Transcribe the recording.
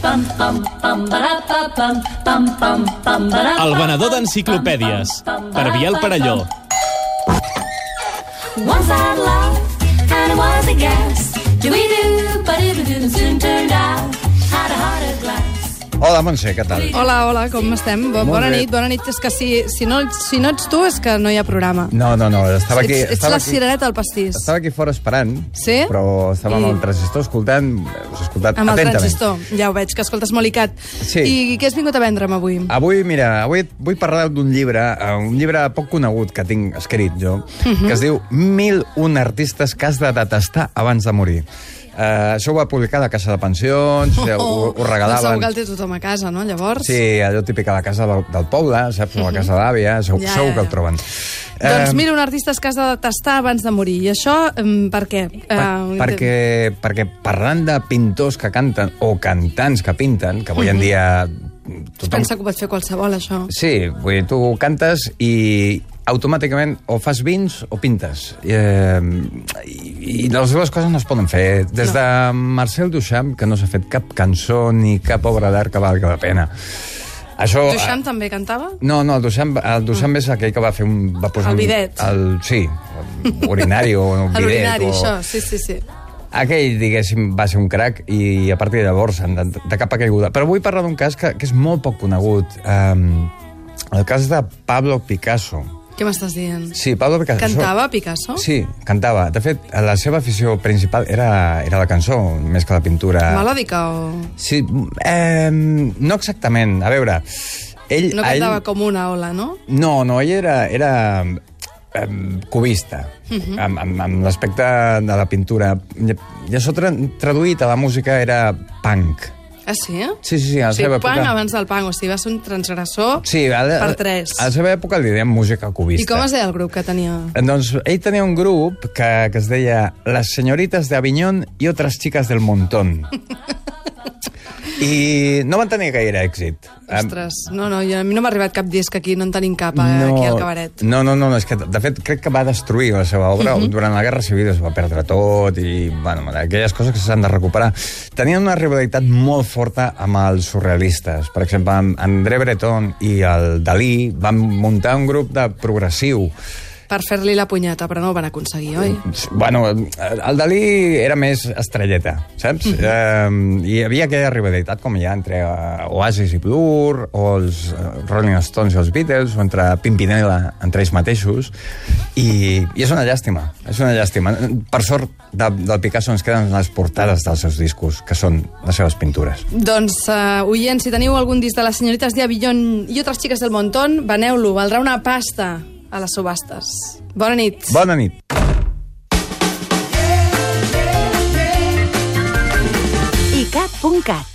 pam, pam, pam, bara, pa, pam, pam, pam, pam, bara, El pa, venedor pam, d'enciclopèdies, pam, pam, per bara, Biel pa, Parelló. pam. Once I had love, and it was a guess. Do we do, but it soon turned out. Had a heart of glass. Hola, Montse, què tal? Hola, hola, com estem? Bo, Molt bona bé. nit, bona nit. És que si, si, no, ets- si no ets tu és que no hi ha programa. No, no, no, estava aquí... ets, ets estava la aquí. cirereta al pastís. Estava aquí fora esperant, Sí? però estava amb I- el transistor escoltant, us he escoltat Amb el atentament. transistor. Ja ho veig, que escoltes molt icat. eh? Sí. I què has vingut a vendre'm avui? Avui, mira, avui vull parlar d'un llibre, eh, un llibre poc conegut que tinc escrit jo, que Mhm. es diu 1001 artistes que has de detestar abans de morir. Uh, això ho va publicar la Caixa de Pensions, oh, ho, ho regalaven... Segur que el té tothom a casa, no, llavors? Sí, allò típic a la casa del, del poble, saps? O a casa d'àvia, segur, Mhm. Ja, segur ja, que el ja. troben. Doncs Eh, mira, un artista que has de detestar abans de morir. I això, mm, per què? Per, Eh, perquè, perquè parlant de pintors que canten, o cantants que pinten, que avui en dia Es tothom... pensa que ho pot fer qualsevol, això. Sí, vull dir, tu cantes i automàticament o fas vins o pintes. I, eh, i, i les dues coses no es poden fer. Des de Marcel Duchamp, que no s'ha fet cap cançó ni cap obra d'art que valgui la pena. Això, eh, Duchamp també cantava? no, no, el Duchamp, el Duchamp és aquell que va fer un... Va posar El un- bidet. El, sí, urinari o un A bidet. l'urinari, o... això, sí, sí, sí. Aquell, diguéssim, va ser un crac i a partir de llavors han de, de cap a caiguda. Però vull parlar d'un cas que, que és molt poc conegut. Um, el cas de Pablo Picasso. Què m'estàs dient? Sí, Pablo Picasso. Cantava Picasso? Sí, cantava. De fet, la seva afició principal era, era la cançó, més que la pintura. Melòdica o... Sí, eh, no exactament. A veure, ell... No a ell- cantava com una ola, no? No, no, ell era, era um, cubista, Mhm. amb, amb, amb l'aspecte de la pintura. I, i això tra traduït a la música era punk. Ah, sí? Sí, sí, sí, a la O sigui, seva punk època... abans del punk, o sigui, va ser un transgressor Sí, a la, per tres. A la seva època li deien música cubista. I com es deia el grup que tenia? Doncs ell tenia un grup que, que es deia Les senyorites d'Avinyón i altres xiques del Montón. I no van tenir gaire èxit. Em- Ostres, no, no, jo, a mi no m'ha arribat cap disc aquí, no en tenim cap eh, aquí al cabaret. Mhm. No, no, no, no, és que de fet crec que va destruir la seva obra. Durant la Guerra Civil es va perdre tot i, bueno, aquelles coses que s'han de recuperar. Tenien una rivalitat molt forta amb els surrealistes. Per exemple, amb André Breton i el Dalí van muntar un grup de progressiu. Per fer-li la punyeta, però no ho van aconseguir, oi? Bueno, el Dalí era més estrelleta, saps? Mm -hmm. hi havia aquella rivalitat com hi ha entre eh, Oasis i Blur, o els eh, Rolling Stones i els Beatles, o entre Pimpinela, entre ells mateixos, i, i és una llàstima, és una llàstima. Per sort, de, del Picasso ens queden les portades dels seus discos, que són les seves pintures. Doncs, uh, oients, si teniu algun disc de les senyorites d'Avillon i altres xiques del Montón, veneu-lo, valdrà una pasta a les subhastes. Bona nit. Bona nit! icat.cat